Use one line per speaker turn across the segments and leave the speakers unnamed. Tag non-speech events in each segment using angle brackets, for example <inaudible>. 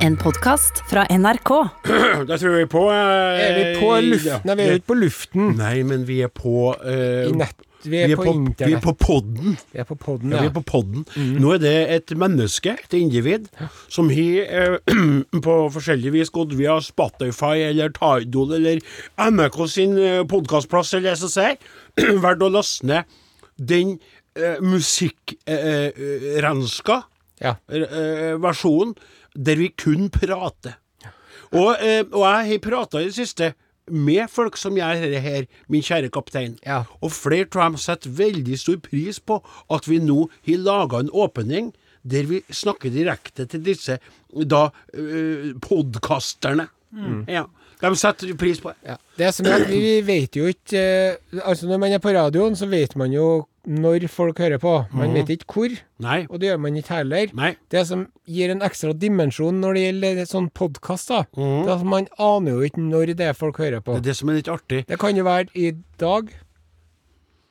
En podkast fra NRK.
Da tror vi på eh,
Er vi på luften? Nei, vi er jo ikke på luften.
Nei, men vi er på eh,
I nett. Vi er, på,
vi er
internett. Mm.
på podden.
Vi er på podden,
Ja,
ja.
vi er på podden. Nå er det et menneske, et individ, som har eh, <clears throat> på forskjellig vis gått via Spotify eller Tidal eller NRK sin eh, podkastplass eller SSR, <clears throat> valgt å laste ned den eh, musikkrenska
Ja.
eh, versjonen der vi kun prater. Og, eh, og jeg har prata i det siste med folk som gjør dette her, min kjære kaptein.
Ja.
Og flere av dem setter veldig stor pris på at vi nå har laga en åpning der vi snakker direkte til disse da eh, podkasterne.
Mm.
Ja. De setter pris på det.
Ja. Det som er at vi, vi vet jo ikke eh, Altså Når man er på radioen, så vet man jo når folk hører på. Man vet ikke hvor,
Nei.
og det gjør man ikke heller.
Mhm. Nei.
Det som gir en ekstra dimensjon når det gjelder sånn podkast, da, det er at man aner jo ikke når det er folk hører på.
Mhm. Det er det som er litt artig.
Det kan jo være i dag.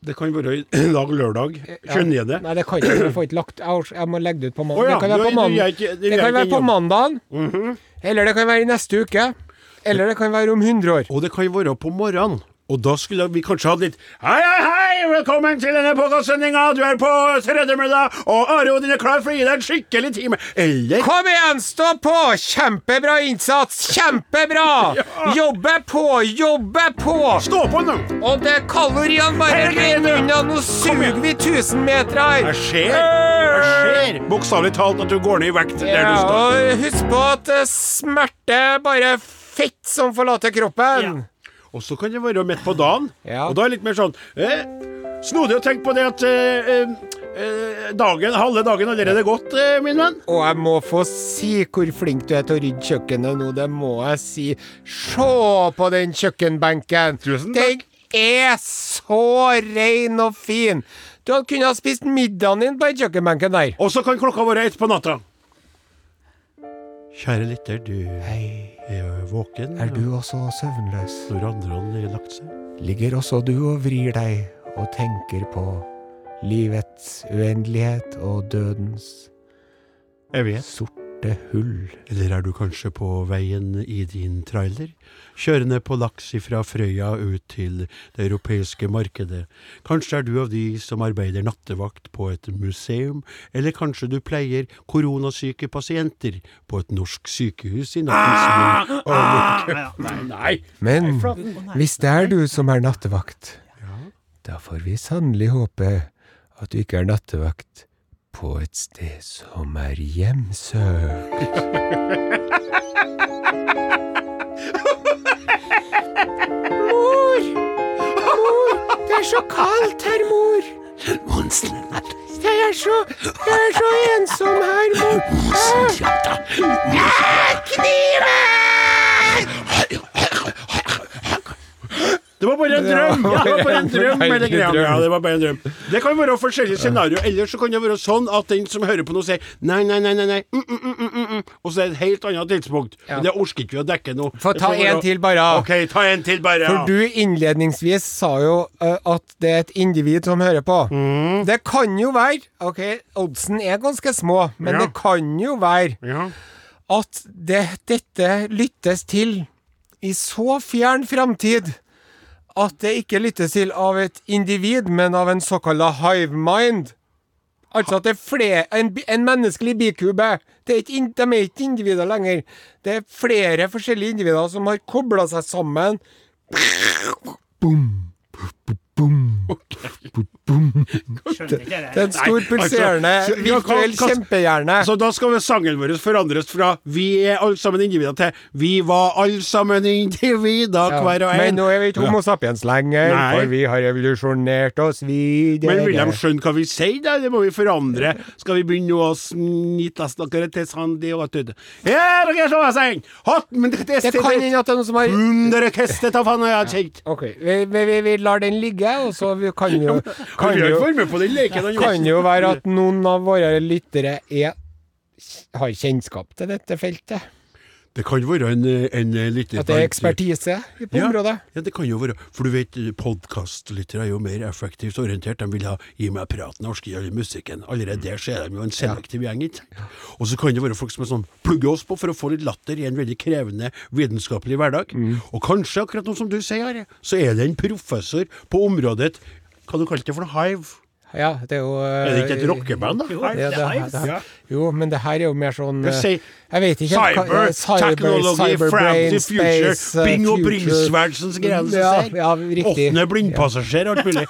Det kan være i dag lørdag. Skjønner jeg det?
Nei, det kan ikke, jeg får ikke lagt Jeg har- Jeg må legge det ut på mandag.
Å ja,
Det kan
du-
være på
du
mandag.
gjør ikke- du
Det
gjør
kan
ikke
være på
jobb. Mhm.
mandagen. Eller det kan være i neste uke. Eller det kan være om 100 år.
Og det kan være på morgenen. Og da skulle vi kanskje hatt litt Hei, hei, hei! Velkommen til denne podkastsendinga! Du er på tredjemiddag, og Are Odin er klar for å gi deg en skikkelig time. Eller
Kom igjen, stå på! Kjempebra innsats! Kjempebra!
<laughs> Ja.
Jobbe på, jobbe på!
Stå på nå!
Og det kaloriene bare
Helvete!
renner unna. Nå suger vi 1000 meter her!
Det skjer! Det skjer! Bokstavelig talt at du går ned i vekt der du
Ja,
står.
og husk på at eh, smerte er bare fett som forlater kroppen.
Og så kan det være midt på dagen.
Ja.
Og da er det litt mer sånn eh, Snodig å tenke på det at eh, eh, eh, dagen, halve dagen allerede er gått, eh, min venn.
Og jeg må få si hvor flink du er til å rydde kjøkkenet nå, det må jeg si. Se på den kjøkkenbenken!
Tusen takk.
Den er så rein og fin! Du hadde kunnet ha spist middagen din på den kjøkkenbenken der.
Og så kan klokka være ett på natta. Kjære lytter, du er jo våken.
Er du også søvnløs?
Når andre har lagt seg.
Ligger også du og vrir deg og tenker på livets uendelighet og dødens
Jeg vet.
sorte hull.
Eller er du kanskje på veien i din trailer? Kjørende på laks fra Frøya ut til det europeiske markedet. Kanskje er du av de som arbeider nattevakt på et museum, eller kanskje du pleier koronasyke pasienter på et norsk sykehus i nattens mulm. Nei, nei.
Men hvis det er du som er nattevakt, da får vi sannelig håpe at du ikke er nattevakt på et sted som er hjemsøkt. mor! Mor! Det er så kaldt her, mor!
Monsen er natt.
Jeg er så, jeg er så ensom her, mor.
Monsen jakter.
Kniven!
Det var bare en
<laughs>
drøm! Ja, det var bare en drøm med det
Forferdelig
greia.
drøm.
Ja, det var bare en drøm. Det kan være forskjellige scenarioer. Ellers så kan det være sånn at den som hører på noe, sier nei, nei, nei, nei, nei. Mm, mm, mm, mm, mm, mm. og så er det et helt annet tidspunkt. Men det orker ikke vi å dekke nå.
Få ta
Det får være-
en til bare.
Ok, ta en til, bare.
For du innledningsvis sa jo ø, at det er et individ som hører på. Det kan jo være Ok, oddsen er ganske små, men
Ja.
det kan jo være
ja.
at det, dette lyttes til i så fjern framtid at det ikke lyttes til av et individ, men av en såkalla hive mind. Altså at det er flere, en, bi- en menneskelig bikube. Det er ikke, in- de er ikke individer lenger. Det er flere forskjellige individer som har kobla seg sammen. Det er en <laughs> stor,
Nei, altså,
pulserende,
så- ja, hva-
virtuell
hva-
kjempehjerne.
Så da skal vi sangen vår forandres fra 'Vi er alle sammen individer' til 'Vi var alle sammen <laughs> individer,
Ja,
hver og en'.
Men nå er vi ikke Homo sapiens lenger,
Nei.
for vi har evolusjonert oss videre.
Men vil de skjønne hva vi sier, da? Det må vi forandre. Skal vi begynne å snitte snakkere til Sandi og alt det Ja, dere er så seng! Hatt, men det
Det kan hende at det er noen som har
Hundre kester, ta faen, jeg har kjent.
Ok, vi, vi, vi, vi lar den ligge, og så vi kan jo
Kan
Kan
vi har
jo,
ikke vært med på den leken. han
kan
vet.
jo være at noen av våre lyttere er har kjennskap til dette feltet.
Det kan være en, en liten
At det er ekspertise på
Ja.
området.
Ja, det kan jo være. For du vet, podkastlyttere er jo mer effektivt orientert. De vil ha 'gi meg praten, orsker ikke all musikken'.
Mm.
Allerede der så er de jo en selektiv gjeng. ikke sant? Og så kan det være folk som er sånn plugger oss på for å få litt latter i en veldig krevende vitenskapelig hverdag.
Mm.
Og kanskje, akkurat nå som du sier, Are, så er det en professor på området Hva du kalte det for noe? Hive?
Ja, det er jo eh,
Er det ikke et rockeband, da? Hive?
Ja, det, det,
Ja.
jo, men det her er jo mer sånn
Hva
eh,
sier-
Jeg vet ikke helt hva-
Cyber,
eh,
technology,
cyber
from
brain,
the future,
space, eh,
Bing og
future.
Bringsverdsens greier.
Ja, ja, riktig. Eh,
Åttende blindpassasjer, alt
<laughs>
mulig.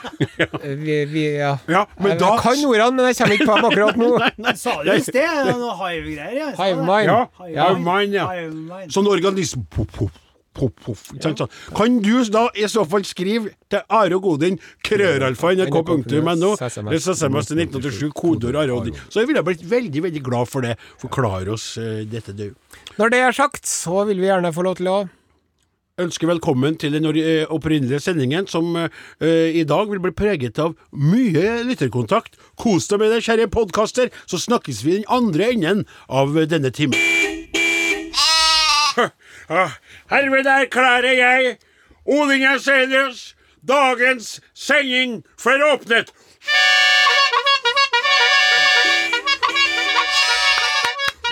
Vi, vi, ja. Eh,
Ja, men
jeg,
da
jeg kan ordene, men jeg kommer ikke på
<laughs>
dem akkurat nå.
Jeg sa det i sted, det er noe hive-greier. jeg sa det.
Hive mind.
Ja,
Ja.
hive mind, ja.
Hive mind.
Sånn organism... Pop, pop, pop, pop, ikke sant, sånn. Kan du da i så fall skrive til Are og Godin, krøralfa nrk.no, eller så SMS til 1987, kodeord Are og Godin. Så jeg ville blitt veldig, veldig glad for det. Forklar oss eh, dette, du.
Når det er sagt, så vil vi gjerne få lov til å
ønsker velkommen til den ori- eh, opprinnelige sendingen, som eh, eh, i dag vil bli preget av mye lytterkontakt. Kos deg med det, kjære podkaster, så snakkes vi i den andre enden av eh, denne timen. Ah, Herved erklærer jeg Odin Jensenius dagens sending for åpnet.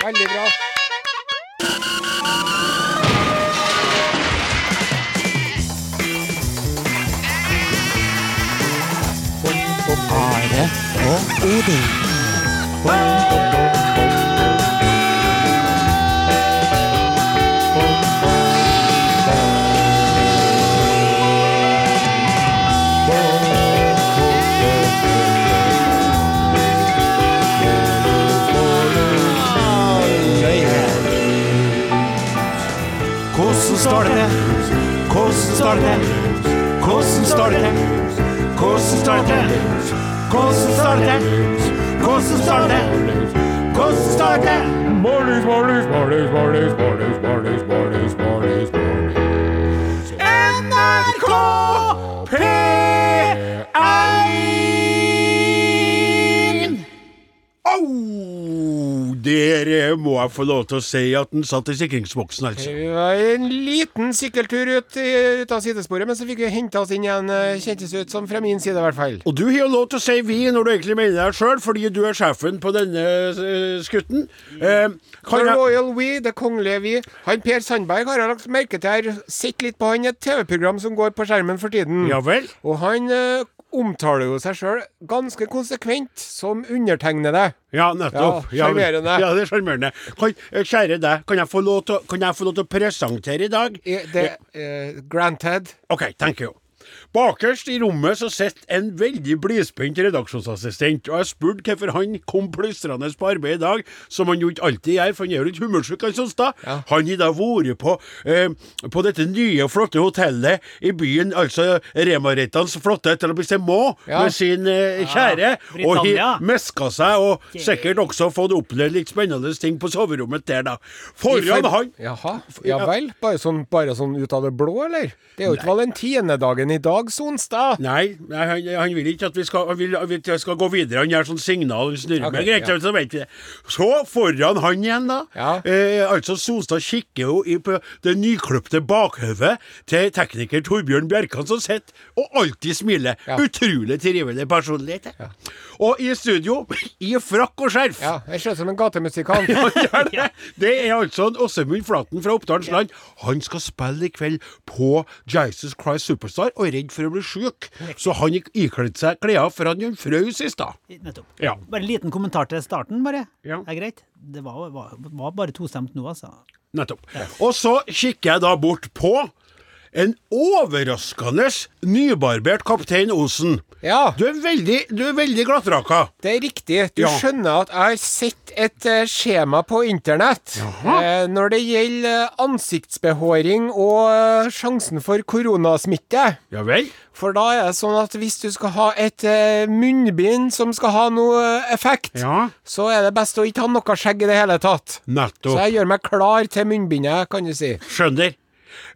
Veldig bra.
Hvordan står det til? Hvordan står det til? Hvordan står det til? Hvordan står det til? Hvordan står det til? Hvordan står det til? Hvordan står det til? NRK P1
Au! Der eh, må jeg få lov til å si at den satt i sikringsboksen, altså.
Vi var en liten sykkeltur ut, i- ut av sidesporet, men så fikk vi henta oss inn igjen, eh, kjentes ut som fra min side i hvert fall.
Og du har jo lov til å si vi når du egentlig mener deg sjøl, fordi du er sjefen på denne eh, skutten. Eh,
The
kan jeg,
Royal We, det kongelige vi. Han Per Sandberg har jeg lagt merke til her. Sett litt på han i et TV-program som går på skjermen for tiden.
ja vel?
Og han eh, omtaler jo seg sjøl ganske konsekvent som undertegnede.
Ja, nettopp.
Ja,
vel.
sjarmerende.
Ja, det er sjarmerende. Kan- eh, Kjære deg, kan jeg få lov til, å- kan jeg få lov til å presentere i dag?
I- Det, eh, granted.
OK, thank you. Bakerst i rommet så sitter en veldig blidspent redaksjonsassistent, og jeg spurte hvorfor han kom plystrende på arbeid i dag, som han jo ikke alltid gjør, for han er jo litt humørsjuk, han Sonstad. Han har da vært på, eh, på dette nye og flotte hotellet i byen, altså Remareitans flotte Etablissements,
Ja.
med sin eh, kjære, og
Britannia.
har meska seg, og sikkert også fått opplevd litt spennende ting på soverommet der, da. Foran han
Jaha, ja vel. Bare sånn, bare sånn ut av det blå, eller? Det er jo ikke valentinedagen i dag, Sonstad.
Nei, nei han, han vil ikke at vi skal, han vil, han vil at jeg skal gå videre. Han gjør sånn signal, han snurrer
Ok,
med greit,
ja.
så vet vi det. Så foran han igjen, da.
Ja.
Eh, altså, Solstad kikker jo i på det nykløpte bakhodet til tekniker Torbjørn Bjerkan, som sitter og alltid smiler.
Ja.
Utrolig trivelig personlighet. Ja. Og i studio, i frakk og skjerf.
Ja, jeg ser ut som en
<laughs>
gatemusikant.
Han gjør det. <laughs> Det er altså en Åsemund Flaten fra Oppdalens land. Han skal spille i kveld på Jesus Christ Superstar og er redd for å bli syk. Så han gikk ikledd seg klær for han frøs i stad.
Nettopp.
Ja.
Bare en liten kommentar til starten, bare.
Ja.
Det er greit. Det var, var, var bare tostemt nå, altså.
Nettopp. Og så kikker jeg da bort på en overraskende nybarbert kaptein Osen.
Ja.
Du er veldig, du er veldig glattraka.
Det er riktig. Du
Ja.
skjønner at jeg har sett et eh, skjema på internett. Eh, når det gjelder eh, ansiktsbehåring og eh, sjansen for koronasmitte.
Ja vel?
For da er det sånn at hvis du skal ha et eh, munnbind som skal ha noe eh, effekt,
Ja.
så er det best å ikke ha noe skjegg i det hele tatt. Så
Nettopp.
jeg gjør meg klar til munnbindet, kan du si.
Skjønner.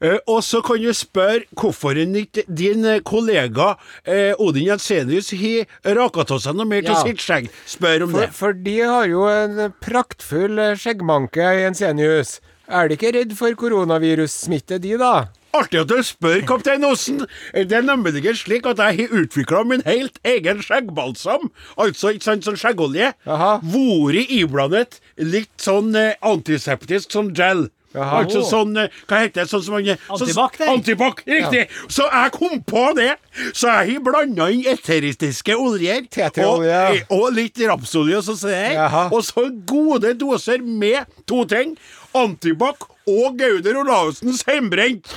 Eh, og så kan du spørre hvorfor en ikke din eh, kollega eh, Odin Jensenius har raka av seg noe mer til
Ja.
sitt skjegg. Spør om
For,
det.
for de har jo en praktfull eh, skjeggmanke i Ensenius. Er de ikke redd for koronavirussmitte, de, da?
Artig at du spør, kaptein Osen. Det er nemlig slik at jeg har utvikla min helt egen skjeggbalsam, altså ikke sant, sånn skjeggolje,
Jaha.
vært iblandet litt sånn eh, antiseptisk som gel.
Jaha.
Altså
Å.
sånn eh, Hva heter det? Sånn som man eh, sånn-
Antibac, det.
Antibac, riktig. Så jeg kom på det. Så jeg har blanda inn eteristiske oljer og,
Tetraolje.
og litt rapsolje, så sier jeg.
Jaha.
Og så gode doser med to ting. Antibac og Gauder Olavsens
<laughs>
hjemmebrent.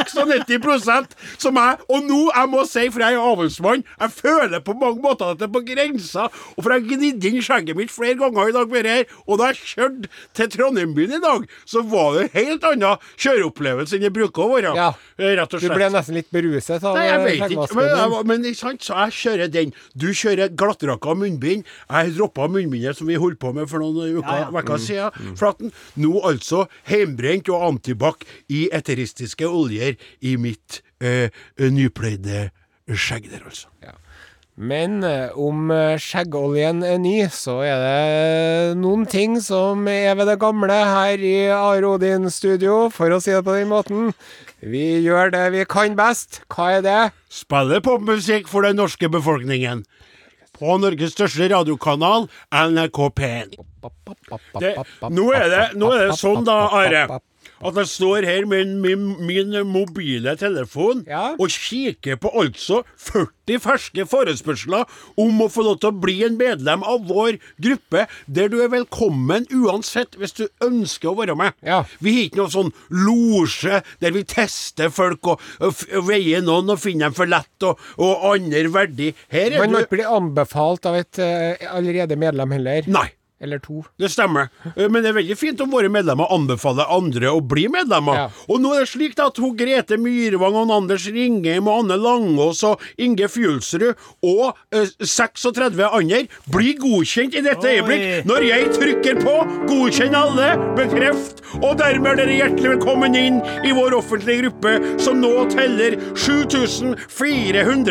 96 som jeg Og nå, jeg må si, for jeg er avholdsmann, jeg føler på mange måter at det er på grensa. Og for jeg har gnidd inn skjegget mitt flere ganger i dag, med det her, og da jeg kjørte til Trondheim byen i dag, så var det en helt annen kjøreopplevelse enn det bruker å være.
Ja.
eh, Rett og
Du
slett.
ble nesten litt beruset av
Nei, jeg
eh,
vet ikke. Men,
skjeggvasken din.
jeg- men ikke sant, så jeg kjører den. Du kjører glattraka munnbind. Jeg har droppa munnbindet som vi holdt på med for noen uker
Ja, Mm. ja.
uker siden. Flaten. Nå altså heimbrent og antibac i eteristiske oljer i mitt eh, nypløyde skjegg der, altså.
Men eh, om eh, skjeggoljen er ny, så er det eh, noen ting som er ved det gamle her i Are Odin studio, for å si det på den måten. Vi gjør det vi kan best. Hva er det?
Spiller popmusikk for den norske befolkningen. På Norges største radiokanal, NRK P1. det, nå, er det, nå er det sånn da, Are, at jeg står her med min, min mobile telefon
Ja.
og kikker på altså 40 ferske forespørsler om å få lov til å bli en medlem av vår gruppe, der du er velkommen uansett hvis du ønsker å være med.
Ja.
Vi har ikke noe sånn losje der vi tester folk og, og f- veier noen og finner dem for lett og, og andre verdig. Her er
Man
du
må ikke bli anbefalt av et eh, allerede medlem heller.
Nei.
Eller to.
Det stemmer. Eh, Men det er veldig fint om våre medlemmer anbefaler andre å bli medlemmer.
Ja.
Og nå er det slik da at hun Grete Myrvang og Anders Ringheim og Anne Langås og Inge Fjulsrud og eh, 36 andre blir godkjent i dette
Oi.
øyeblikk når jeg trykker på 'godkjenn alle', 'bekreft', og dermed er dere hjertelig velkommen inn i vår offentlige gruppe som nå teller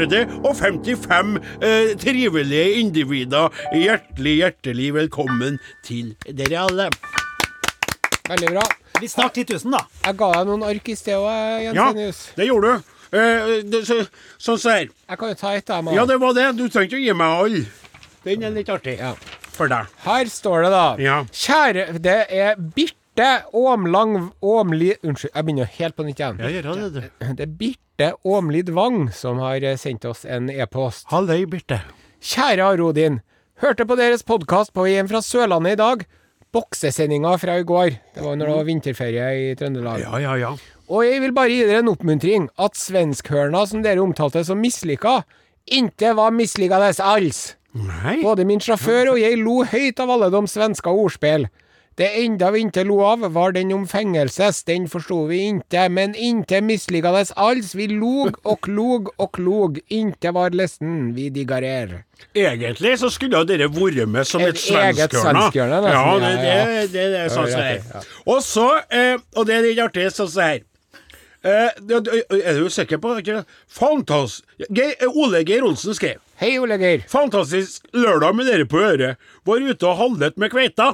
7455 eh, trivelige individer. Hjertelig, hjertelig velkommen til dere alle.
Veldig bra.
Vi snart 10 000, da.
Jeg ga deg noen ark i sted òg, Jens
Ja,
Enius.
det gjorde du. Eh, det, så, sånn så her.
Jeg kan jo ta et, jeg, mann.
Ja, det var det. Du trengte å gi meg alle. Den er litt artig.
Ja.
For deg.
Her står det, da.
Ja.
Kjære Det er Birte Åmlang Åmli... Unnskyld, jeg begynner helt på nytt igjen.
gjør det, du.
Det er Birte Åmlid Wang som har eh, sendt oss en e-post.
Halløy, Birte.
Kjære Arodin. Hørte på deres podkast på Hjem fra Sørlandet i dag. Boksesendinga fra i går. Det var når det var vinterferie i Trøndelag.
Ja, ja, ja.
Og jeg vil bare gi dere en oppmuntring. At svenskhørna som dere omtalte som mislykka, ikke var mislykkende alls.
Nei.
Både min sjåfør og jeg lo høyt av alle de svenske ordspill. Det enda vi ikke lo av, var den om fengelses, den forsto vi ikke, men inte misliggende alls, vi log og log og log, inte var lesten vi diggarer.
Egentlig så skulle jo dere vært med som
Et
et
eget svenskhjørne,
svenskhjørne.
nesten.
Ja, det,
Ja,
det,
ja,
det, det er sånn
Ja,
som
ja,
det er. Og så, eh, og det er litt artig, sånn som her. Eh, det- det- er du sikker på ikke? Fantas... Geir, Ole Geir Olsen skrev
Hei, Ole Geir.
Fantastisk lørdag med dere på øret. Var ute og handlet med
<laughs>
kveita.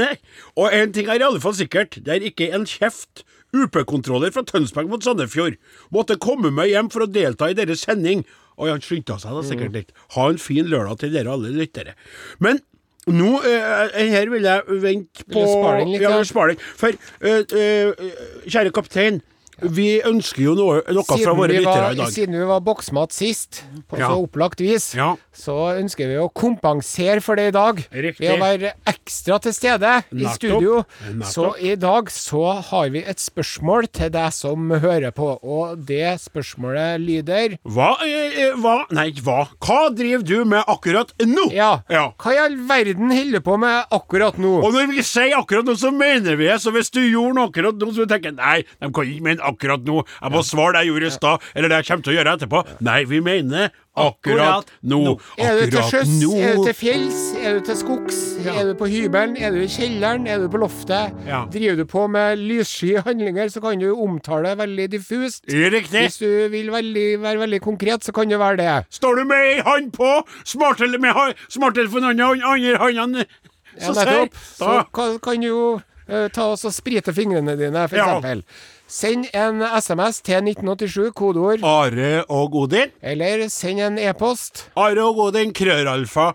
og en ting er i alle fall sikkert, det er ikke en kjeft. UP-kontroller fra Tønsberg mot Sandefjord. Måtte komme meg hjem for å delta i deres sending. Og han skyndte seg da sikkert
Mm.
litt. Ha en fin lørdag til dere alle lyttere. Men nå eh, Her vil jeg vente på
Vil du spare den litt,
Ja,
ja?
spare den. For eh, eh, kjære kaptein, vi ønsker jo noe, noe fra
Siden
våre
vi,
lyttere
var,
i dag.
siden vi var boksmat sist, på
Ja.
så opplagt vis,
Ja.
så ønsker vi å kompensere for det i dag.
Riktig.
Ved å være ekstra til stede i
Nettopp.
studio.
Nettopp.
Så i dag så har vi et spørsmål til deg som hører på, og det spørsmålet lyder
Hva, eh, eh, hva Nei, hva? Hva driver du med akkurat nå?
Ja, hva i all verden holder du på med akkurat nå?
Og når vi sier akkurat nå, så mener vi det. Så hvis du gjorde noe akkurat nå, så tenker jeg nei, de kan ikke mene akkurat nå. Jeg må svare det jeg gjorde i stad, eller det jeg kommer til å gjøre etterpå. Nei, vi mener akkurat,
Akkurat
nå.
nå.
Er du til
Akkurat
sjøs?
nå.
Er du til fjells? Er du til skogs? Er du på hybelen? Er du i kjelleren? Er du på loftet?
Ja.
Driver du på med lyssky handlinger, så kan du jo omtale det veldig diffust.
Riktig.
Hvis du vil veldig, være veldig konkret, så kan det være det.
Står du med ei hand på, smarttelefonen med ha- smarttelefonen i andre hånden, andre hånden
Ja, nettopp. Så
da-
kan, kan du jo eh, ta oss og sprite fingrene dine, for
Ja.
eksempel. Send en SMS til 1987, kodeord,
Are og Odin.
eller send en e-post.
Are og Odin, krøralfa,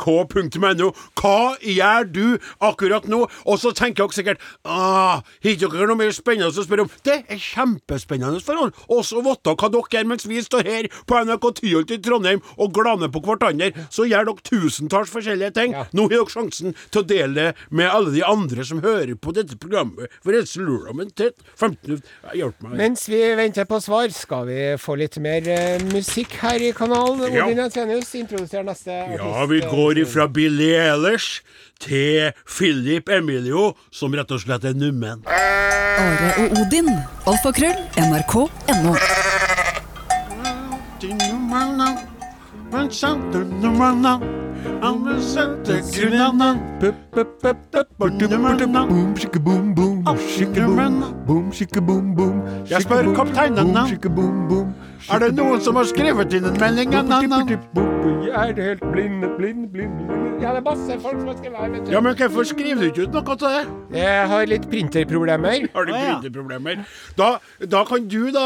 nrk.no. Hva gjør du akkurat nå? Og så tenker dere sikkert ah, Har dere noe mer spennende å spørre om? Det er kjempespennende forhold. Også vite hva dere gjør mens vi står her på NRK Tyholt i Trondheim og glaner på hverandre. Så gjør dere tusentalls forskjellige ting.
Ja.
Nå har dere sjansen til å dele det med alle de andre som hører på dette programmet. For ellers lurer de en tett 15 Hjelp meg.
Mens vi venter på svar, skal vi få litt mer eh, musikk her i kanalen.
Ja.
Odin Jensenius introduserer neste eh,
Ja, vi går ifra Billy Eilish til Philip Emilio, som rett og slett er nummen.
Are og Odin. Alfakrøll. NRK.no.
Jeg spør kapteinen, da. Er det noen som har skrevet inn en melding? Na, na, na.
Er det helt blind, blind, blind, blind Ja, det er masse folk som har skrevet her, vet du.
Ja, men hvorfor skriver du ikke ut noe til det?
Jeg har litt printerproblemer.
Har du
Å, ja.
printerproblemer? Da, da kan du da,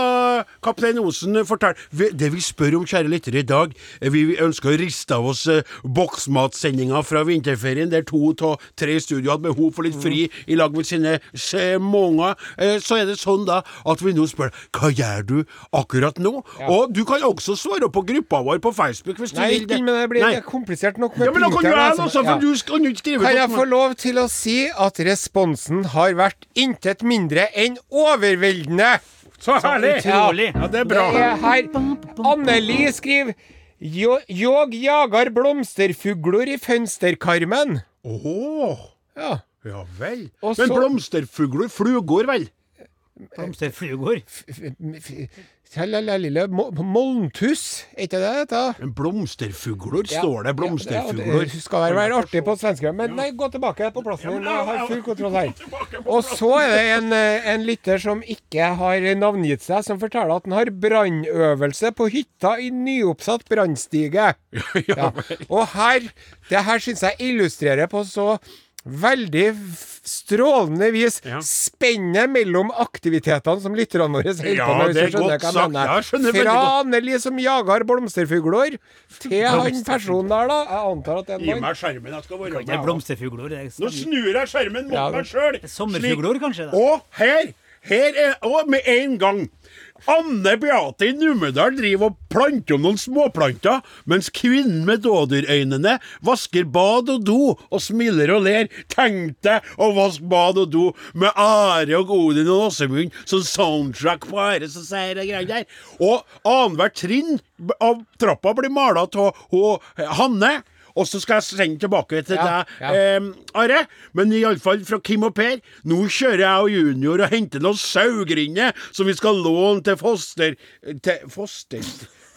kaptein Osen, fortelle Vi- Det vi spør om, kjære lyttere, i dag eh, Vi ønsker å riste av oss eh, boksmatsendinga fra vinterferien, der to av tre i studio hadde behov for litt fri
Mm.
i lag med sine småunger. Eh, Så er det sånn da at vi nå spør hva gjør du akkurat nå? Og du kan også svare på gruppa vår på Facebook hvis du
Nei,
vil
ikke men det blir
Nei.
det er komplisert nok med
Ja, men da kan du
printer,
jeg
altså.
også, for
Ja.
du skal jo ikke skrive
Kan jeg
sånn.
få lov til å si at responsen har vært intet mindre enn overveldende?
Så herlig!
utrolig.
Ja, det er bra.
Det er her Anneli skriver «Jo- Jog jager blomsterfugler i fønsterkarmen.
Åh.
Ja.
Ja vel.
Og
Men
så-
blomsterfugler flugor, vel?
Blomster flugor.
Lille Molntuss, er ikke det dette?
Men blomsterfugler står det.
Ja,
Blomsterfugler.
det skal være, være artig på svensker, men nei, gå tilbake på plassen din. Jeg har full kontroll her. Og så er det en, eh, en lytter som ikke har navngitt seg, som forteller at han har brannøvelse på hytta i nyoppsatt
<laughs>
brannstige. Ja. Og her, det her syns jeg illustrerer på så veldig f- strålende vis
Ja.
spennet mellom aktivitetene som lytterne våre holder
Ja,
på med. hvis
det
du
er
skjønner
godt
hva jeg
sagt.
mener.
Ja, jeg skjønner veldig
Fra
godt.
Anneli som jager blomsterfugler, til han personen der, da. Jeg antar at det er
Gi
en mann.
meg skjermen, jeg skal være
Det er
med.
blomsterfugler. det er
Nå
stemning.
snur jeg skjermen mot
Ja, men-
meg sjøl.
Sommerfugler, kanskje? da?
Og her! Her er Og med en gang. Anne Beate i Numedal driver og planter om noen småplanter, mens kvinnen med dådyrøynene vasker bad og do og smiler og ler. Tenk deg å vaske bad og do med Are og Odin og Åsemund som soundtrack på Are som sier de greiene der. Og annethvert trinn b- av trappa blir mala av ho- Hanne. Og så skal jeg sende tilbake til
Ja,
deg,
ja.
Eh, Are, men iallfall fra Kim og Per. Nå kjører jeg og junior og henter noen sauegrinder som vi skal låne til foster... Til foster...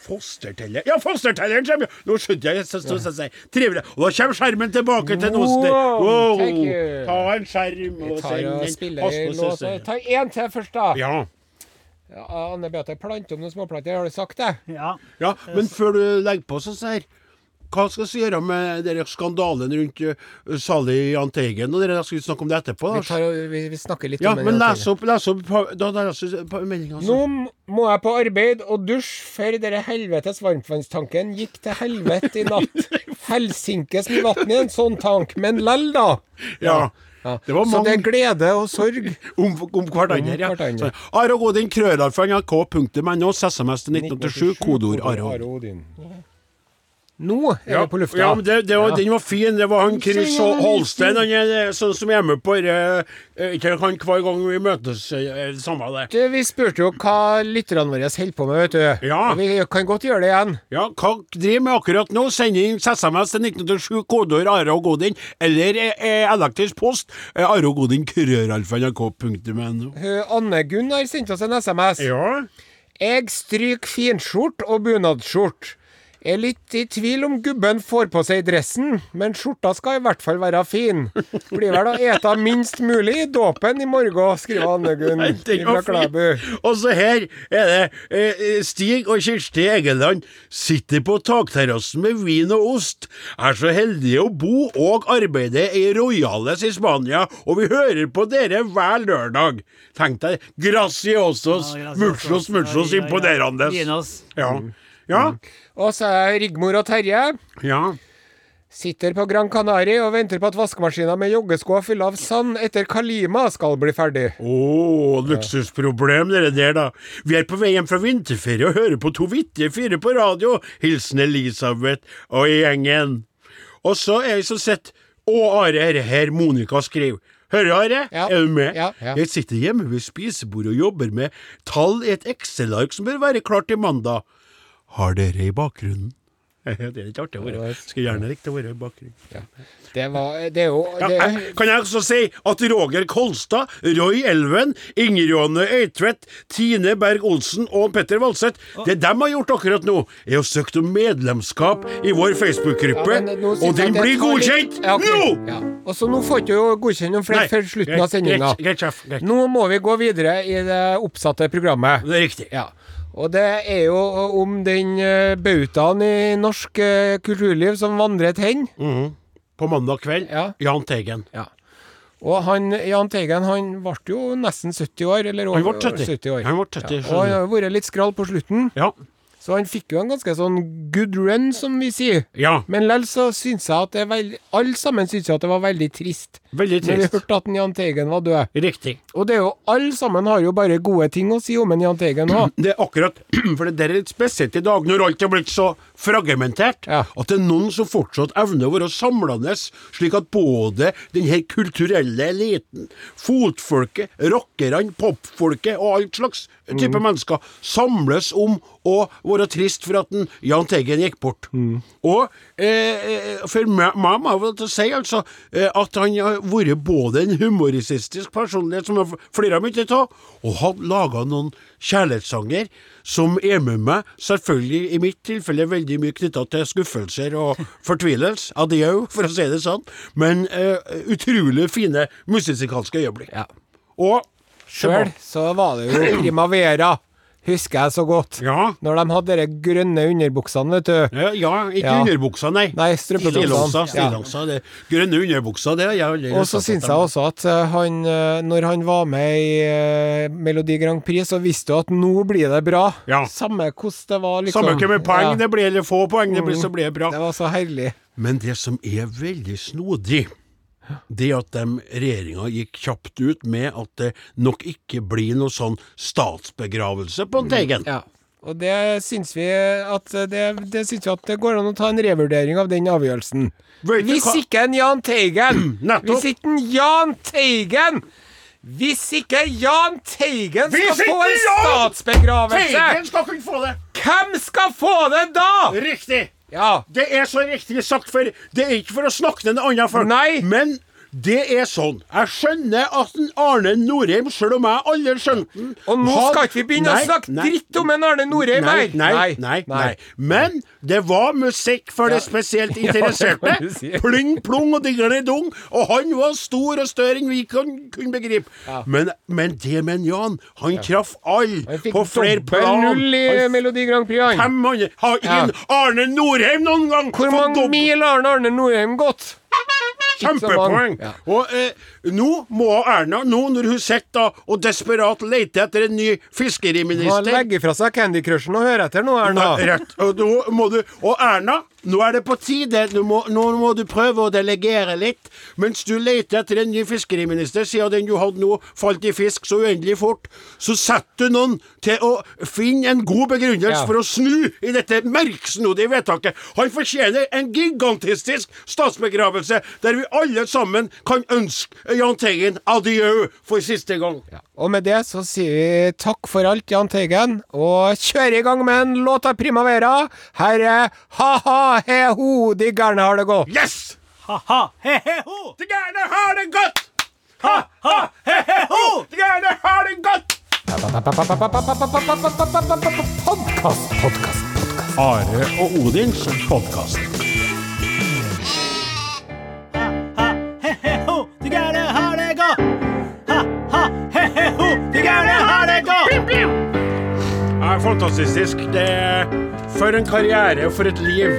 Fosterteller Ja, fostertelleren kommer! jo! Nå skjønte jeg så stod jeg og sa Trivelig. Og da kommer skjermen tilbake til noen sted.
Wow,
Wow,
thank you.
ta en skjerm
Vi
og
tar
send
og
en
spiller en låt.
søster.
Ta én til først, da.
Ja.
Ja, Anne Beate, plant om noen småplanter, har du sagt det?
Ja.
ja. Men før du legger på, så sier hva skal vi gjøre med dere skandalen rundt eh, Sally Jahn Teigen? og dere? Skal vi snakke om det etterpå?
Vi,
da?
tar, og- vi, vi snakker litt
Ja,
om
men
den
les opp, les opp pa- da, da leser jeg pa- meldingen,
Nå
altså.
må jeg på arbeid og dusj før dere helvetes varmtvannstanken gikk til helvete i natt.
<laughs>
Helsinkes blir vannet i en sånn tank, men lell, da.
Ja. Det var
Så det er
mange
glede og sorg.
om, om hverandre.
Om
Ja.
hverandre.
Så, Are og Odin, krøralfa, nrk.no, SMS til 1987, kodeord Are og Odin.
Odin. Nå er vi på lufta.
ja, men det, det var, Den var fin. Det var han Chris Hol- Holstein. Han er eh, sånn som er med på eh, eh, Ikke han hver gang vi møtes, eh, eh, samme det.
Du, vi spurte jo hva lytterne våre holder på med, vet du.
Ja.
Og vi kan godt gjøre det igjen.
Ja, hva driver med akkurat nå? Send inn SMS til 1987, kodeord Are og Odin, eller eh, eh, elektrisk post, eh, Are og Odin, krøralfa, nrk.no.
Hun, Anne Gunn har sendt oss en SMS.
Ja.
Jeg stryker finskjort og bunadsskjort. Er litt i tvil om gubben får på seg dressen, men skjorta skal i hvert fall være fin. Blir vel å eta minst mulig i dåpen i morgen, skriver Anne Gunn
Den var
fra Klæbu.
fin. Og så her er det eh, eh, Stig og Kirsti Egeland sitter på takterrassen med vin og ost, er så heldige å bo og arbeide i Royales i Spania, og vi hører på dere hver lørdag. Tenk deg graciosos,
Ja, graciosos.
muchos, muchos
Ja, ja, ja.
imponerandes.
Dinos.
Ja. Ja.
Og så er Rigmor og Terje.
ja.
Sitter på Gran Canaria og venter på at vaskemaskina med joggesko fylt av sand etter Kalima skal bli ferdig.
Å, luksusproblem dere der, da. Vi er på vei hjem fra vinterferie og hører på to vittige fyrer på radio. Hilsen Elisabeth og gjengen. Og så er jeg som sett Å, Are, her, her Monica skriver. Hører Are,
Ja.
er du med?
Ja, ja.
Jeg sitter hjemme ved spisebordet og jobber med tall i et Excel-ark som bør være klart til mandag.
Har dere i bakgrunnen?
<laughs> Det er litt artig å være. Skulle gjerne likt å være i bakgrunnen.
Det var Det er jo
Ja,
det,
jeg- kan jeg også si at Roger Kolstad, Roy Elven, Inger Johanne Øytvedt, Tine Berg Olsen og Petter Valseth Det de har gjort akkurat nå, er å søke om medlemskap i vår
Ja,
Facebook-gruppe,
men eh, nå synes
og den
jeg at
blir
jeg tar
godkjent
litt- Ja, ok.
nå!
Ja. Og så nå får ikke du godkjent noen flere
Nei,
før slutten av
greit,
sendinga.
greit, greit, sjef, greit.
Nå må vi gå videre i det oppsatte programmet.
Det er riktig.
Ja. Og det er jo om den eh, bautaen i norsk eh, kulturliv som vandret hen.
Mm. På mandag kveld,
Ja.
Jahn Teigen.
Og han, Jahn Teigen han ble jo nesten 70 år. Eller
Han
over
ble 70.
70 år.
Han ble 70,
Og
skjønner
han
du.
har jo vært litt skral på slutten.
Ja.
Så han fikk jo en ganske sånn good run, som vi sier.
ja.
Men lell så syns jeg at det er veldig Alle sammen syns jo at det var veldig trist.
Veldig
Når vi
trist.
hørte at Jahn Teigen var død.
Riktig.
Og det er jo alle sammen har jo bare gode ting å si om en Jahn Teigen òg.
Det er akkurat, for det der er litt spesielt i dag, når alt er blitt så fragmentert,
Ja.
at det er noen som fortsatt evner å være samlende, slik at både den her kulturelle eliten, fotfolket, rockerne, popfolket og alt slags type mennesker samles om å være trist for at en Jahn Teigen gikk bort. Og eh, eh, for meg meg må jeg vel til å si altså, eh, at han har vært både en humoristisk personlighet, som jeg flirer mye av, og har laga noen kjærlighetssanger som er med meg, selvfølgelig i mitt tilfelle veldig mye knytta til skuffelser
<laughs>
og fortvilelse. Adjø, for å si det sånn. Men eh, utrolig fine musikalske øyeblikk.
Ja.
Og
Sjøl så var det jo Primavera, husker jeg så godt.
Ja.
Når de hadde de grønne underbuksene, vet du.
Ja, ja ikke
Ja.
underbuksa, nei.
Nei, strømpebuksene.
Stillongsa.
Ja.
stillongsa, det- Grønne underbuksa, det har jeg aldri
Og så
satt
syns
etter.
jeg også at eh, han, eh, når han var med i eh, Melodi Grand Prix, så visste du at nå blir det bra.
Ja.
Samme hvordan det var, liksom. Mm.
Samme hvor mye poeng det blir, eller få poeng det blir, så blir det bra.
Det var så herlig.
Men det som er veldig snodig, det at dem regjeringa gikk kjapt ut med at det nok ikke blir noe sånn statsbegravelse på en Teigen.
Ja. Og det syns vi at det, det syns vi at det går an å ta en revurdering av den avgjørelsen.
Vet du
Hvis
hva-
ikke en Jahn Teigen
<clears throat> Nettopp.
Hvis ikke en Jahn Teigen Hvis ikke Jahn Teigen
Hvis
skal få
ikke
en
Jahn
statsbegravelse,
Teigen skal kunne få det!
hvem skal få det da?!
Riktig!
Ja.
Det er så riktig sagt, for det er ikke for å snakke ned noen andre folk.
Nei.
Men det er sånn. Jeg skjønner at en Arne Norheim, sjøl om jeg aldri skjønte den
Og nå
har-
skal ikke vi begynne å
Nei,
snakke
nei,
dritt om en Arne Norheim
Nei,
her!
nei, nei, nei. Men det var musikk for det spesielt
<laughs>
interesserte.
kan du si.
Pling plong og dinglende dung. Og han var stor og større enn vi kan, kunne begripe. Men, men det med en Jan, han traff alle
Han fikk
på flere
dobbel
plan.
null i
Han
Melodi Grand Prix, han.
500 Har
Ja.
ingen Arne Norheim noen gang
Hvor
fått
mange
dobbelt-
mil har Arne- Arne Norheim gått? Ikke så
Kjempepoeng!
mange. Ja.
Og eh, nå må Erna, nå når hun sitter da og desperat leter etter en ny
Han
fiskeriminister
legger fra seg Candy Crushen og hører etter nå, Erna.
Nei, Rett. Og, nå må du, og Erna, nå er det på tide. Du må, nå må du prøve å delegere litt. Mens du leter etter en ny fiskeriminister, siden den du hadde nå falt i fisk så uendelig fort, så setter du noen til å finne en god begrunnelse
Ja.
for å snu i dette merksnodige vedtaket. Han fortjener en gigantistisk statsbegravelse der vi alle sammen kan ønske Jahn Teigen adjø for siste gang.
Og med det så sier vi takk for alt, Jahn Teigen, og kjører i gang med en låt av Primavera. Her er Ha-ha, he-ho, de gærne har det godt.
Yes!
Ha-ha, he-he-ho!
De gærne har det godt!
Ha-ha, he-he-ho!
De gærne har det godt!
Podkast, podkast, podkast.
Are og Odins podkast.
Ha, he, he, ho, du gærne har det godt. Ha, ha, he, he, ho, du gærne har det godt.
Det er fantastisk. Det er for en karriere og for et liv.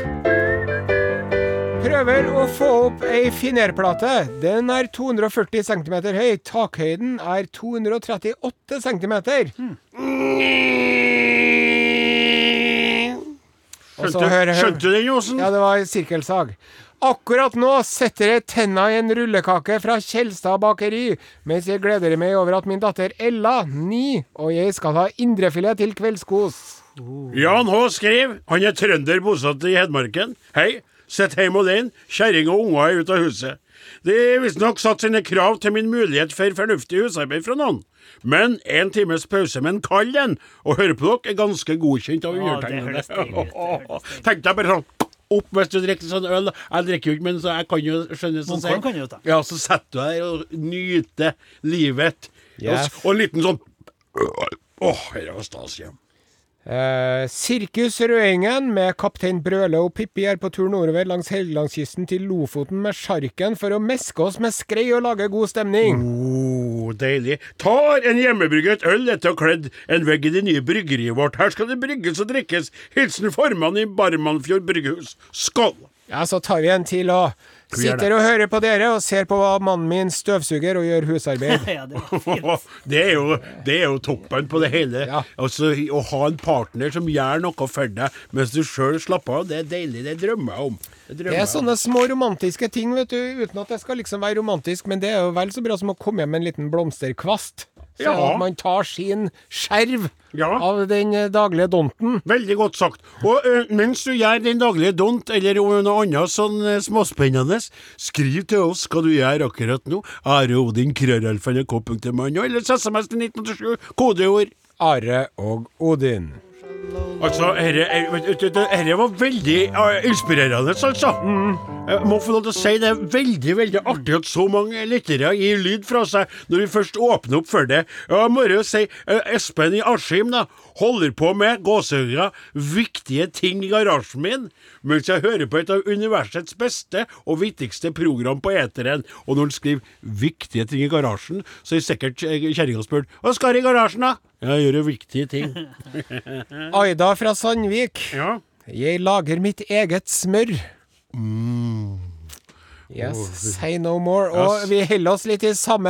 Prøver å få opp ei finerplate. Den er 240 cm høy. Takhøyden er 238 cm.
Hmm.
Og så
Skjønte,
hører
skjønte du den, Josen?
Ja, det var sirkelsag. Akkurat nå setter jeg tenna i en rullekake fra Kjelstad bakeri, mens jeg gleder meg over at min datter Ella, ni, og jeg skal ha indrefilet til kveldskos.
Jan H. skriver. Han er trønder bosatt i Hedmarken. Hei. Sitter hjemme alene. Kjerring og unger er ute av huset. De har visstnok satt sine krav til min mulighet for fornuftig husarbeid fra noen. Men en times pause med en kald en, og høre på dere, er ganske godkjent av
Å, det
undertegnede. <laughs>
høres deilig ut, det høres deilig ut.
Tenkte jeg bare sånn opp hvis du drikker sånn øl. da. Jeg drikker jo ikke, men så jeg kan jo skjønne sånn
Munkholm kan jo ta.
Ja, så setter du deg og nyter livet.
Ja.
Og, s- og en liten sånn Åh, dette var stas. Ja.
Eh, Sirkus Røingen med kaptein Brøle og Pippi er på tur nordover langs Helgelandskysten til Lofoten med sjarken for å meske oss med skrei og lage god stemning.
Oh, deilig. Tar en hjemmebrygget øl etter å ha kledd en vegg i det nye bryggeriet vårt. Her skal det brygges og drikkes. Hilsen formann i Barmannfjord bryggehus. Skål!
Ja, så tar vi en til og
Vi gjør det.
sitter og hører på dere og ser på hva mannen min støvsuger og gjør husarbeid.
<laughs>
Ja, det var fint.
Det er jo, det er jo toppen på det hele.
Ja.
Altså, å ha en partner som gjør noe for deg mens du sjøl slapper av, det er deilig. Det drømmer jeg om. Det drømmer
Det
jeg
er sånn
om.
sånne små romantiske ting, vet du, uten at det skal liksom være romantisk, men det er jo vel så bra som å komme hjem med en liten blomsterkvast. Så
Ja.
at man tar sin skjerv
Ja.
av den eh, daglige donten.
Veldig godt sagt. Og ø, mens du gjør din daglige dont eller ø, noe annet sånn ø, småspennende, skriv til oss hva du gjør akkurat nå. Are Odin krøralfa.nrk.no, eller SMS til 1987, kodeord.
Are og Odin.
Altså, herre, er- vet du, det- herre var veldig ø, inspirerende, altså. Jeg må få lov til å si det er veldig veldig artig at så mange lyttere gir lyd fra seg når vi først åpner opp for det. Og Jeg må jo si eh, Espen i Askim da, holder på med gåsehuga, viktige ting i garasjen min, mens jeg hører på et av universets beste og viktigste program på eteren. Og når han skriver 'viktige ting i garasjen', så er sikkert eh, kjerringa spurt 'Hva skal du i garasjen', da? Jeg gjør jo viktige ting. Mm.
Aida fra
<laughs>
Sandvik.
Ja.
Jeg lager mitt eget smør.
Mm.
Yes, say no more. Og vi holder oss litt i samme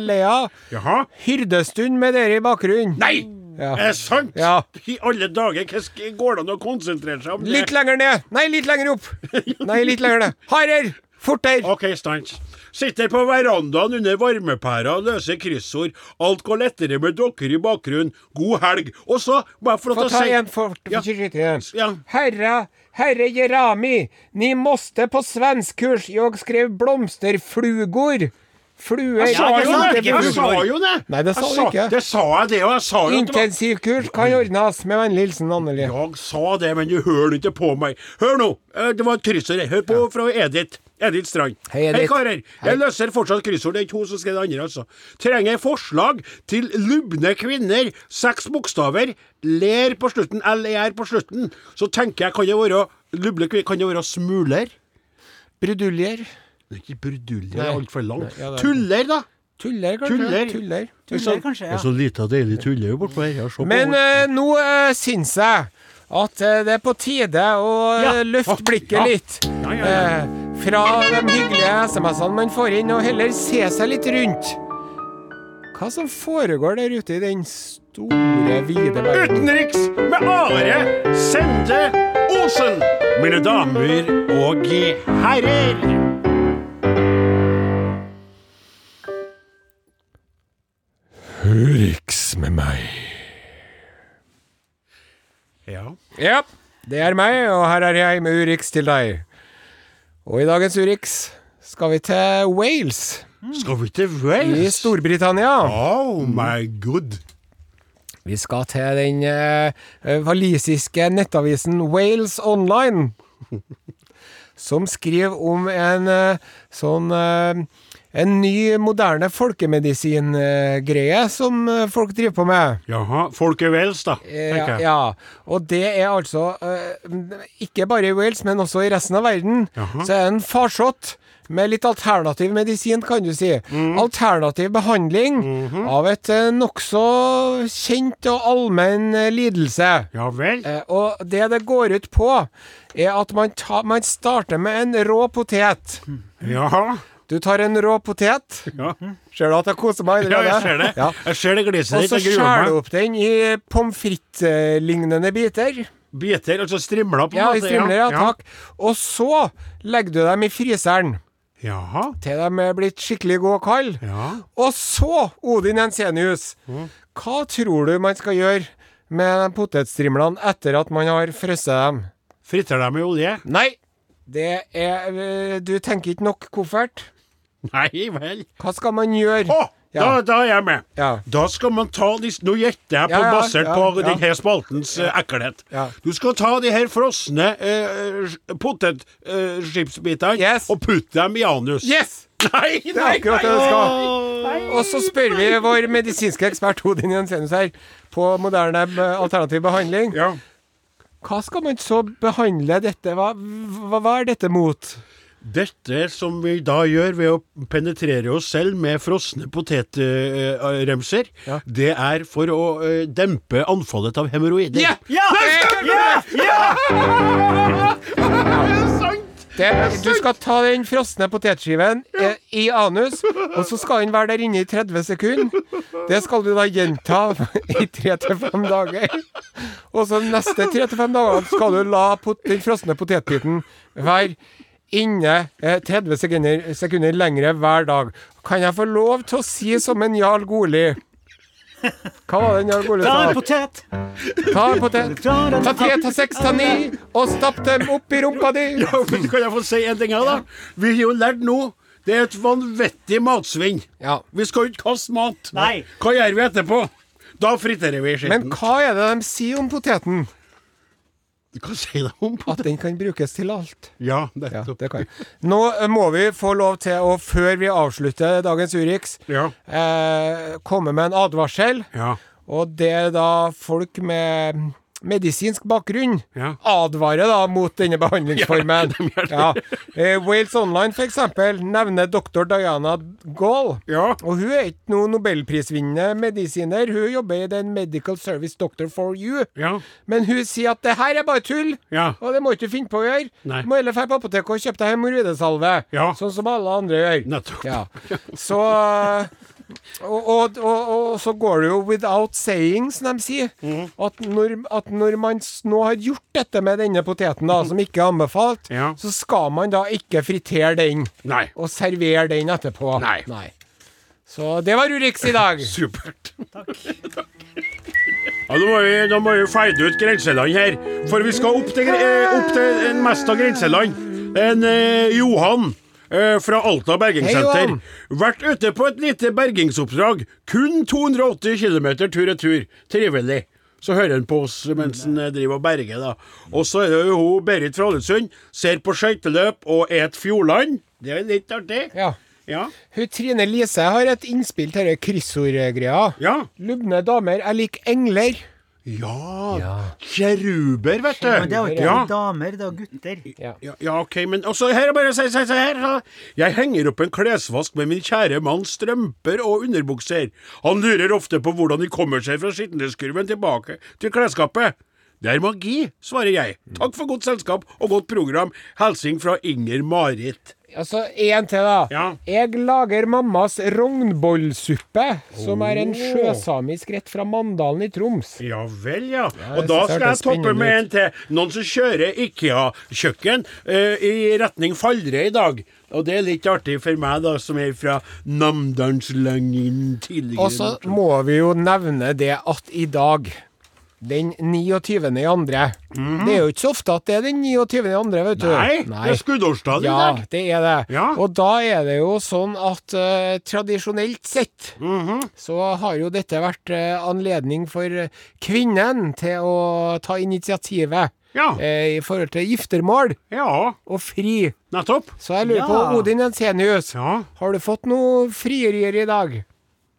leia.
Jaha?
Hyrdestund med dere i bakgrunnen.
Nei!
Ja.
Er det sant?
Ja.
I alle dager, hva sk- går det an å konsentrere seg om det?
Litt lenger ned. Nei, litt lenger
<laughs>
opp. Nei, litt lenger ned. Hardere! Fortere!
Ok, stans. Sitter på verandaen under varmepæra og løser kryssord. Alt går lettere med dere i bakgrunnen. God helg. Og så, bare for
Få
å
ta
si
en for
Ja. Ja.
Herra, herre Jerami, ni måste på svenskkurs. Jag skrev blomsterflugor. Fluer
Jeg sa
Ja,
jo
sant,
det!
ikke
Jeg sa
kryssord.
jo det!
Nei, det sa
Jeg
du ikke.
Det sa jeg, det, og jeg sa jo at det var
Intensivkurs kan ordnes. Med vennlig hilsen Anneli.
Jeg sa det, men du hører ikke på meg. Hør nå, eh, det var et kryssord her. Hør på fra Edith. Edith Strand.
Hei, Edith.
karer. Jeg løser fortsatt kryssord. Det er ikke hun som skrev det andre, altså. Trenger forslag til lubne kvinner. Seks bokstaver. Ler på slutten. L-E-R på slutten. Så tenker jeg, kan det være lubne kvinner? Kan det være smuler?
Bruduljer.
Det er ikke brudulje, det
Nei.
er altfor langt.
Nei, ja, det er-
Tuller, da?
Tuller, kanskje?
Tuller.
Tuller.
sånn-
Tuller kanskje, ja.
så lite av deilig tuller jo bortpå her.
Men eh, nå eh, syns jeg at eh, det er på tide å eh,
Ja.
løfte
Å,
blikket
ja.
litt.
Ja, ja, ja.
eh, fra de hyggelige SMS-ene man får inn, og heller se seg litt rundt. Hva som foregår der ute i den store, vide verden?
Utenriks med Are Sende Osen. Mine damer og herrer.
Urix med meg.
Ja.
Ja, det er meg, og her er jeg med Urix til deg. Og i dagens Urix skal vi til Wales,
Skal vi til
i
Wales?
Storbritannia.
Oh my god.
Vi skal til den eh, walisiske nettavisen Wales <laughs> Online, som skriver om en eh, sånn eh, en ny, moderne folkemedisin-greie som eh, folk driver på med.
Jaha. Folk er vels, da, tenker
Eh, Ja,
jeg.
ja, og det er altså eh, ikke bare i Wales, men også i resten av verden,
Jaha.
så er det en farsott med litt alternativ medisin, kan du si.
Mm.
Alternativ behandling
Mhm.
av et eh, nokså kjent og allmenn eh, lidelse.
Ja vel.
Eh, og det det går ut på, er at man, ta, man starter med en rå potet.
Jaha.
Du tar en rå potet.
<laughs> Ja.
Ser du at jeg koser
ja,
meg allerede?
jeg ser det.
Ja.
Jeg ser det gliset
Og
ditt.
så
Jeg
skjærer
gruer
du
meg.
opp den i pommes frites-lignende biter.
Biter, altså strimler på en
Ja, i
måte.
strimler, ja, takk. Og så legger du dem i fryseren
Jaha.
til de er blitt skikkelig gode og kalde.
Ja.
Og så, Odin Ensenius, hva tror du man skal gjøre med de potetstrimlene etter at man har frosset dem?
Fritter dem i olje?
Nei, det er øh, Du tenker ikke nok koffert.
Nei vel.
Hva skal man gjøre?
Å, da,
Ja.
da er jeg med.
Ja.
Da skal man ta de Nå gjetter jeg på
Ja, ja,
basert
ja,
på
ja.
denne spaltens eh, ekkelhet.
Ja.
Du skal ta de her frosne eh, potetchipsbitene
Yes.
og putte dem i anus.
Yes!
<laughs> Nei,
Det er
nei,
akkurat det du skal. Og så spør vi vår medisinske ekspert Odin Jensenius her på moderne eh, alternativ behandling.
Ja.
Hva skal man så behandle dette? Hva, hva, hva er dette mot?
Dette som vi da gjør ved å penetrere oss selv med frosne potetremser,
Ja.
det er for å eh, dempe anfallet av hemoroider.
Ja!
Ja! Ja! Ja!
Det, Eh, du skal ta den frosne potetskiven eh, i anus, og så skal den være der inne i 30 sekunder. Det skal du da gjenta <laughs> i 3-5 dager. Og så neste 3-5 dager skal du la pot den frosne potetbiten være inne eh, 30 sekunder, sekunder lengre hver dag. Kan jeg få lov til å si som en Jarl Goli? Hva var det en Jarl Goli
Ta en
sa?
potet.
Ta en potet.
Ta den
Ta tre, ta seks, ta ni, og stapp dem opp i rumpa di.
Ja, men kan jeg få si en ting her, da? Vi har jo lært nå det er et vanvittig matsvinn.
Ja.
Vi skal jo ikke kaste mat.
Nei.
Hva gjør vi etterpå? Da friterer vi
Men
skitten.
hva er det de sier om poteten?
Hva sier de om
At den kan brukes til alt.
Ja,
Ja,
nettopp.
det kan jeg. Nå eh, må vi få lov til å, før vi avslutter dagens Urix,
Ja.
eh, komme med en advarsel.
Ja.
Og det er da folk med medisinsk bakgrunn
Ja.
advarer da mot denne behandlingsformen. Ja, Eh, Wales Online for eksempel nevner doktor Diana Gall.
Ja.
Og hun er ikke noen nobelprisvinnende medisiner, hun jobber i den Medical Service Doctor for You.
Ja.
Men hun sier at det her er bare tull,
Ja.
og det må ikke du finne på å gjøre.
Nei.
Du må heller dra på apoteket og kjøpe deg hemoroidesalve,
Ja.
sånn som alle andre gjør.
Nettopp.
Ja. Så eh, og, og, og, og så går det jo 'without saying', som de sier.
Mhm.
At, når, at når man s- nå har gjort dette med denne poteten, da, som ikke er anbefalt,
Ja.
så skal man da ikke fritere den
Nei.
og servere den etterpå.
Nei.
Så det var Urix i dag.
Supert. Takk. Ja, nå må vi, nå må vi feide ut grenseland her, for vi skal opp til, eh, opp til en mest av grenseland. En eh, Johan eh, fra Alta
Hei,
bergingssenter.
Johan.
Vært ute på et lite bergingsoppdrag. Kun 280 km tur-retur. Trivelig. Så hører han på oss mens han eh, driver og berger, da. Og så er det jo hun Berit fra Ålesund. Ser på skøyteløp og et fjordland. Det er litt artig.
Ja.
Ja.
Hun Trine Lise har et innspill til denne kryssordgreia.
Ja.
Lubne damer, jeg liker engler.
Ja, Kjeruber, vet du.
Men det er jo ikke
ja.
damer, det er gutter.
Ja, ja, ok, men også her er bare å si, si, si her. da. Jeg henger opp en klesvask med min kjære manns strømper og underbukser. Han lurer ofte på hvordan de kommer seg fra skitneskurven tilbake til klesskapet. Det er magi, svarer jeg. Takk for godt selskap og godt program. Hilsing fra Inger-Marit.
Altså, én til, da.
Ja.
Jeg lager mammas rognbollsuppe, som er
Oh.
en sjøsamisk rett fra Mandalen i Troms.
Ja vel, ja.
jeg
Og da
synes
skal
det hørtes
jeg toppe
spennende
med
ut.
en til. Noen som kjører IKEA-kjøkken eh, i retning Faldre i dag. Og det er litt artig for meg, da, som er fra Namdalslangen tidligere.
Og så må vi jo nevne det at i dag, den 29. i andre Det er jo ikke så ofte at det er den 29. i andre, vet du.
Mhm. Nei, det er skuddårsdag i
Ja,
dag.
det er det.
Ja.
Og da er det jo sånn at eh, tradisjonelt sett
Mhm.
så har jo dette vært eh, anledning for eh, kvinnen til å ta initiativet.
Ja.
eh, i forhold til giftermål
ja,
og fri.
nettopp.
Så jeg lurer på,
Ja.
Odin Jensenius,
Ja.
har du fått noe frierier i dag?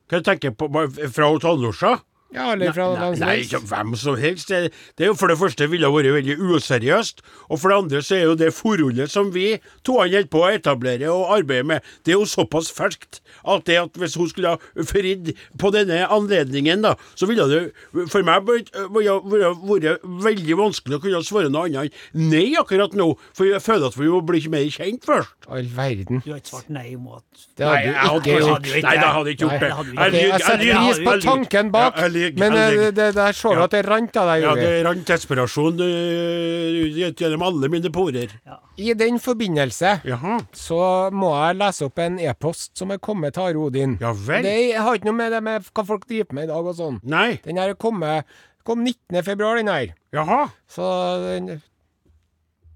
Hva tenker du på Bare fra hos Tallosja?
Ja, eller fra
Nei,
hvem som
nei,
helst?
ikke hvem som helst. Det, det er jo for det første ville vært veldig useriøst, og for det andre så er jo det forholdet som vi toene holder på å etablere og arbeide med, det er jo såpass ferskt at det at hvis hun skulle ha fridd på denne anledningen, da, så ville det for meg blitt- ville- ville vært veldig vanskelig å kunne svare noe annet enn nei akkurat nå, for jeg føler at vi må bli mer kjent først.
All verden.
Du har ikke svart nei mot
Det hadde
jeg
du
hadde
ikke
ikke
gjort.
gjort det. Nei, da hadde jeg ikke gjort det.
Nei, hadde
Jeg
du ikke.
Ok,
lyver,
jeg setter
lyver,
pris på
jeg lyver.
tanken bak,
Ja, jeg lyver,
men
jeg lyver.
eh, det, det der så du
Ja.
at det rant av deg,
Ja, det
Jorge.
rant desperasjon øh, gjennom alle mine porer.
I den forbindelse
Jaha.
så må jeg lese opp en e-post som er kommet til Are Odin.
Ja vel.
Det har ikke noe med det med hva folk driver med i dag og sånn.
Nei.
Den her er kommet kom 19. februar, den her.
Jaha.
Så den,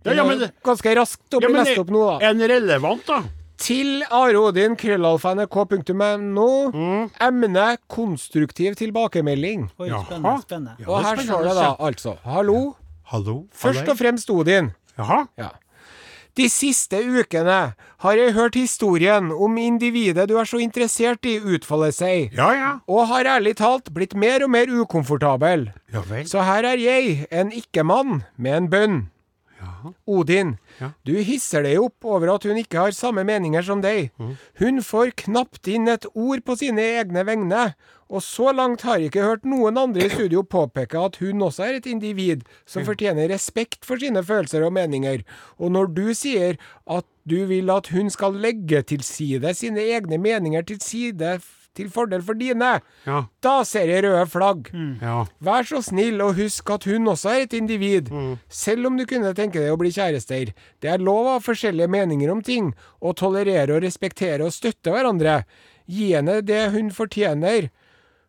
Ja,
den
ja,
er
men,
ganske raskt å
ja,
bli
men
lest opp nå, da.
en relevant, da.
Til Are Odin, krøllalfa.nrk.no.
Mm.
Emne konstruktiv tilbakemelding.
Oi,
Jaha.
spennende. spennende.
Ja.
Og her står det da, altså. Hallo.
Hallo?
Først og fremst Odin.
Jaha.
Ja. De siste ukene har jeg hørt historien om individet du er så interessert i utfolde seg,
Ja, ja.
og har ærlig talt blitt mer og mer ukomfortabel.
Ja vel.
Så her er jeg, en ikke-mann, med en bønn. Odin,
Ja.
du hisser deg opp over at hun ikke har samme meninger som deg.
Mm.
Hun får knapt inn et ord på sine egne vegne, og så langt har jeg ikke hørt noen andre i studio påpeke at hun også er et individ som fortjener respekt for sine følelser og meninger. Og når du sier at du vil at hun skal legge til side sine egne meninger til side f- til fordel for dine,
Ja. Mm.
da ser jeg røde flagg.
Ja.
Vær så snill og husk at hun også er et individ,
Mm.
selv om du kunne tenke deg å bli kjærester. Det er lov å ha forskjellige meninger om ting, og tolerere og respektere og støtte hverandre. Gi henne det hun fortjener,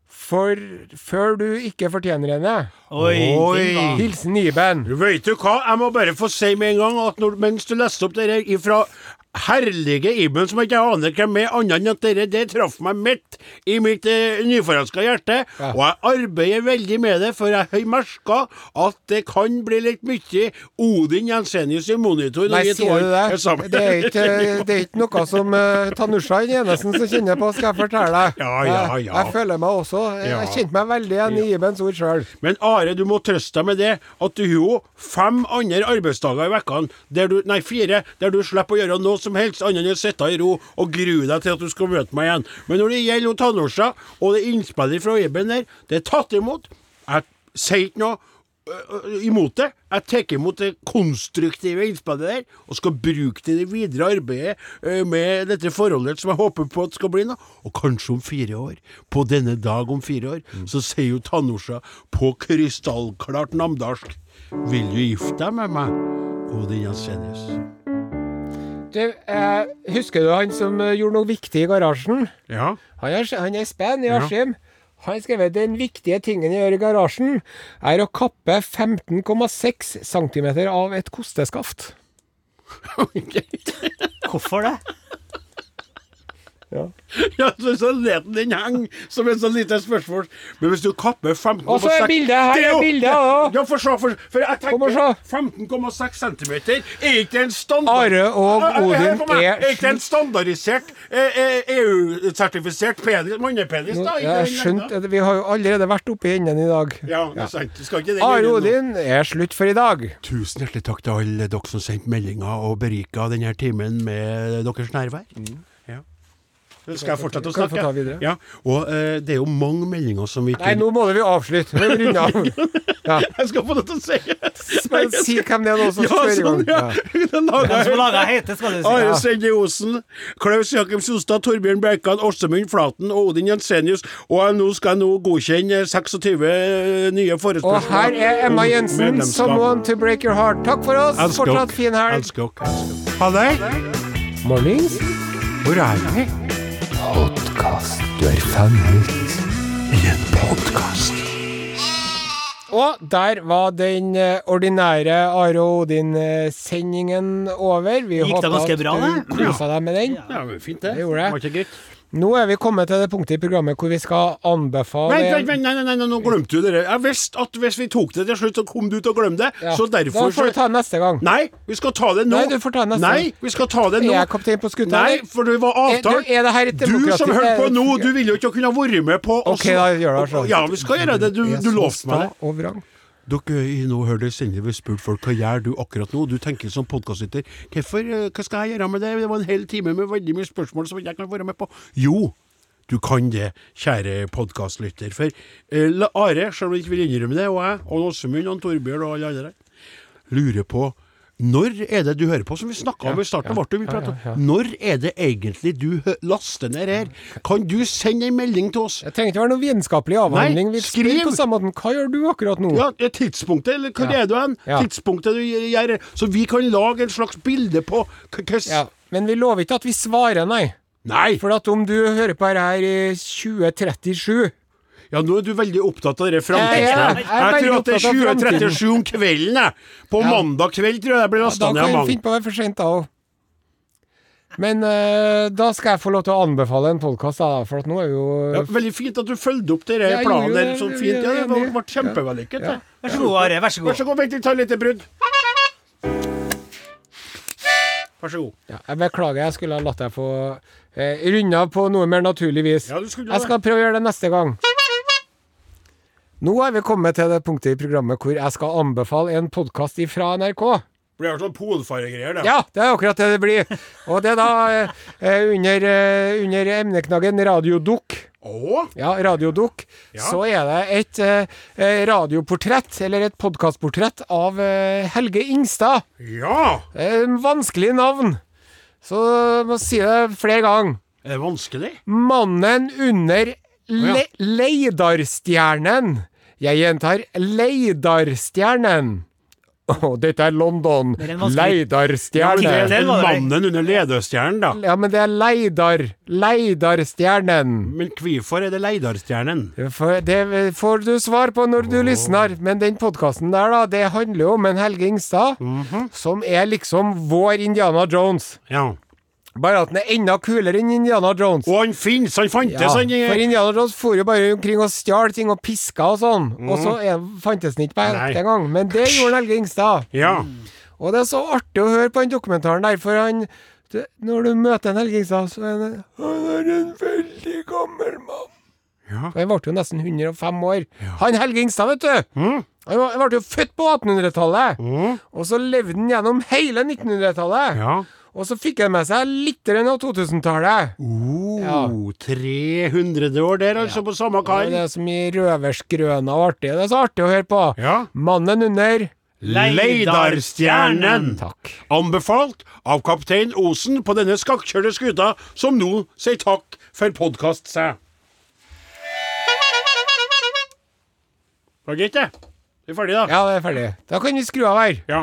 for før du ikke fortjener henne.
Ah.
Oi,
Oi.
den var-
Hilsen Iben.
Du Vet du hva, jeg må bare få si med en gang at når, mens du leste opp det der ifra herlige Iben, som jeg ikke aner hvem er, annet enn at dere, det traff meg midt i mitt eh, nyforelska hjerte,
Ja.
og jeg arbeider veldig med det, for jeg har merka at det kan bli litt mye Odin Jensenius i monitor
Nei, sier du det? Det er ikke, det er ikke noe som uh, Tanusha Jenesen som kjenner på, skal jeg fortelle deg.
Ja, ja,
Jeg,
ja.
jeg føler meg også
Ja.
Jeg kjente meg veldig igjen i Ibens ord sjøl.
Men Are, du må trøste deg med det at du har jo fem andre arbeidsdager i vekkene, der du, nei fire, der du slipper å gjøre noe som helst annet enn å sitte i ro og grue deg til at du skal møte meg igjen. Men når det gjelder hun Tannåsa og det innspillet fra Iben der, det er tatt imot. Jeg sier ikke noe ø, ø, øh, imot det. Jeg tar imot det konstruktive innspillet der, og skal bruke det i det videre arbeidet ø, med dette forholdet som jeg håper på at skal bli noe. Og kanskje om fire år, på denne dag om fire år, så sier jo Tannorsa på krystallklart namdalsk Vil du gifte deg med meg? Odin Jensenius.
Du, eh, husker du han som eh, gjorde noe viktig i garasjen?
Ja.
Han er, han er spen i Askim. Han skrev den viktige tingen jeg gjør i garasjen, er å kappe 15,6 cm av et kosteskaft.
Hvorfor det?
<laughs> ja så, så let den henge som et sånt lite spørsmål. Men hvis du kapper 15,6
Og så er bildet her,
Det jo-
er bildet også.
Ja, få se, for, for jeg
Kom og
tenker 15,6
se.
cm er ikke en standard
Are og
Ah, ah,
Odin
her kommer jeg.
er
Er ikke en standardisert eh, eh, EU-sertifisert penis, mannepenis, da? Ikke
Jeg
den
skjønte
lengda.
at Vi har jo allerede vært oppe i enden i dag.
Ja, det er sant. Du skal ikke det
Are
gjøre nå.
Odin er slutt for i dag.
Tusen hjertelig takk til alle dere som sendte meldinger og berika denne timen med deres nærvær. Ja. Så Mm. skal jeg fortsette å
Kan
snakke?
jeg få ta videre?
Ja. Og eh, det er jo mange meldinger som vi ikke
Nei, nå må vi avslutte. Vi runder av. <laughs> Ja.
Jeg skal få det til å
<laughs>
si
Men si hvem det er nå som
Ja,
spør i
sånn,
gang.
ja.
Ja.
<laughs> Den
Den
laget
som
jeg.
laga hete, skal du si.
Are Sende Osen, Klaus Jakob Solstad, Torbjørn Bjerkan, Åsemund Flaten og Odin Jensenius. Og jeg nå skal jeg nå godkjenne 26 nye
Og
forespørsler.
her er Emma
om
Jensen,
medlemskap.
'Someone to Break Your Heart'. Takk for oss.
Elsker dere.
Fortsatt fin helg.
Elsker dere. elsker dere. Ha det.
Mornings.
Hvor er vi?
Og der var den eh, ordinære Are og Odin-sendingen over. Vi
Gikk det
håper
ganske
at
bra,
du
det?
kosa deg med den.
Ja, men fint det.
Det gjorde jeg.
Var ikke greit.
Nå er vi kommet til det punktet i programmet hvor vi skal anbefale
Vent, vent, vent, nei, nei, nei, nei, nå glemte du det. Jeg visste at hvis vi tok det til slutt, så kom du til å glemme det.
Ja,
Så derfor
Da får du ta det neste gang.
Nei, vi skal ta det nå.
Nei, du får ta det neste
Nei,
gang.
vi skal ta det nå.
Er jeg kaptein på skuta,
Nei,
eller?
for det var
Er-
avtalt.
du, er det her et
Du som
demokratisk-
hørte på
er-
nå, du ville jo ikke kunne ha vært med på
Ok, da gjør det sånn.
altså- Ja, vi skal gjøre det. Du,
Jeg
du
så
lovte meg det.
sta Og vrang.
Dere i Nå hører det senere vi spurt folk hva gjør du akkurat nå. Du tenker som podkastlytter hvorfor, eh, hva skal jeg gjøre med det? Det var en hel time med veldig mye spørsmål som jeg ikke kan være med på. Jo, du kan det, kjære podkastlytter. For eh, la- Are, selv om jeg ikke vil innrømme det, og jeg, og Åsemund, og Torbjørn og alle andre, lurer på når er det du hører på, som vi snakka om i starten? ble det vi pratet om. Når er det egentlig du hø- laster ned her? Kan du sende en melding til oss?
Det trenger ikke være noe vitenskapelig avhandling.
Nei,
vi spør
skriv!
på samme måten. Hva gjør du akkurat nå?
Ja, ja, tidspunktet, eller hvor
Ja.
er du hen?
Ja.
Tidspunktet du gjør Så vi kan lage en slags bilde på k- hvordan
Ja, Men vi lover ikke at vi svarer, nei.
Nei!
For at om du hører på dette her i 2037
Ja, nå er du veldig opptatt av det
Ja, ja,
framtidsgreiet.
jeg er
Jeg tror
veldig
at det
opptatt av
er
fremtiden.
2037 om kvelden, jeg. På
Ja.
mandag kveld tror jeg jeg blir
ja, Da
lasta ned
kan
av
vi
mange.
finne på å være for sent, da òg. Men eh, da skal jeg få lov til å anbefale en podkast, da. For at nå er jo
Ja, veldig fint at du følger opp denne
Ja, jeg
planen
gjorde
der
det.
så
Vi- vi
fint. Ja,
er
det ble,
enige.
ble kjempevellykket. det.
Vær så god, Are. Vær så
Vær
god.
så god, vent litt, ta et lite brudd. Vær så god.
ja, Jeg beklager, jeg skulle ha latt deg få eh, runde av på noe mer naturlig vis.
Ja, du skulle ha
jeg skal prøve å gjøre det neste gang. Nå er vi kommet til det punktet i programmet hvor jeg skal anbefale en podkast fra NRK.
Det blir sånn polfaregreier, det.
Ja, det er akkurat det det blir. Og det er da eh, eh, under, eh, under emneknaggen radiodukk.
Å?
Ja, radiodukk. Så er det et eh, eh, radioportrett, eller et podkastportrett, av eh, Helge Ingstad.
Ja!
Eh, vanskelig navn. Så må si det flere ganger.
Er det vanskelig?
Mannen under le Leidarstjernen. Jeg gjentar Leidarstjernen. Å, dette er London.
er en vanskelig-
Leidarstjernen.
Ja, men det- Den var det.
Mannen under ledestjernen, da.
Ja, men det er Leidar. Leidarstjernen.
Men hvorfor er det Leidarstjernen?
For det får du svar på når du lysner. Men den podkasten der, da, det handler jo om en Helge Ingstad som er liksom vår Indiana Jones.
Ja.
Bare at den er enda kulere enn Indiana Jones.
Og han finnes, han
Ja,
fantes, han eh.
for Indiana Jones for jo bare omkring og stjal ting og piska og sånn. Og så er, fantes den ikke på
Nei.
ekte engang. Men det gjorde Helge Ingstad.
Ja.
Og det er så artig å høre på den dokumentaren der, for han det- Når du møter en Helge Ingstad, så er han Han er en veldig gammel mann.
Ja.
For Han ble jo nesten 105 år. Han Helge Ingstad, vet du!
Mm.
Han var- han ble jo født på 1800-tallet! Og så levde han gjennom hele 1900-tallet!
ja.
Og så fikk han med seg litt grann av 2000-tallet.
Oh,
Ja.
300 år der, altså, på samme
Og
kar.
Det er så mye røverskrøna og artig. Det er så artig å høre på.
Ja.
Mannen under
Leidarstjernen.
Takk.
Anbefalt av kaptein Osen på denne skakkjørte skuta, som nå sier takk for podkast, seg. Var det greit, det? Vi er ferdige, da?
Ja, det er ferdig. Da kan vi skru av her.
Ja.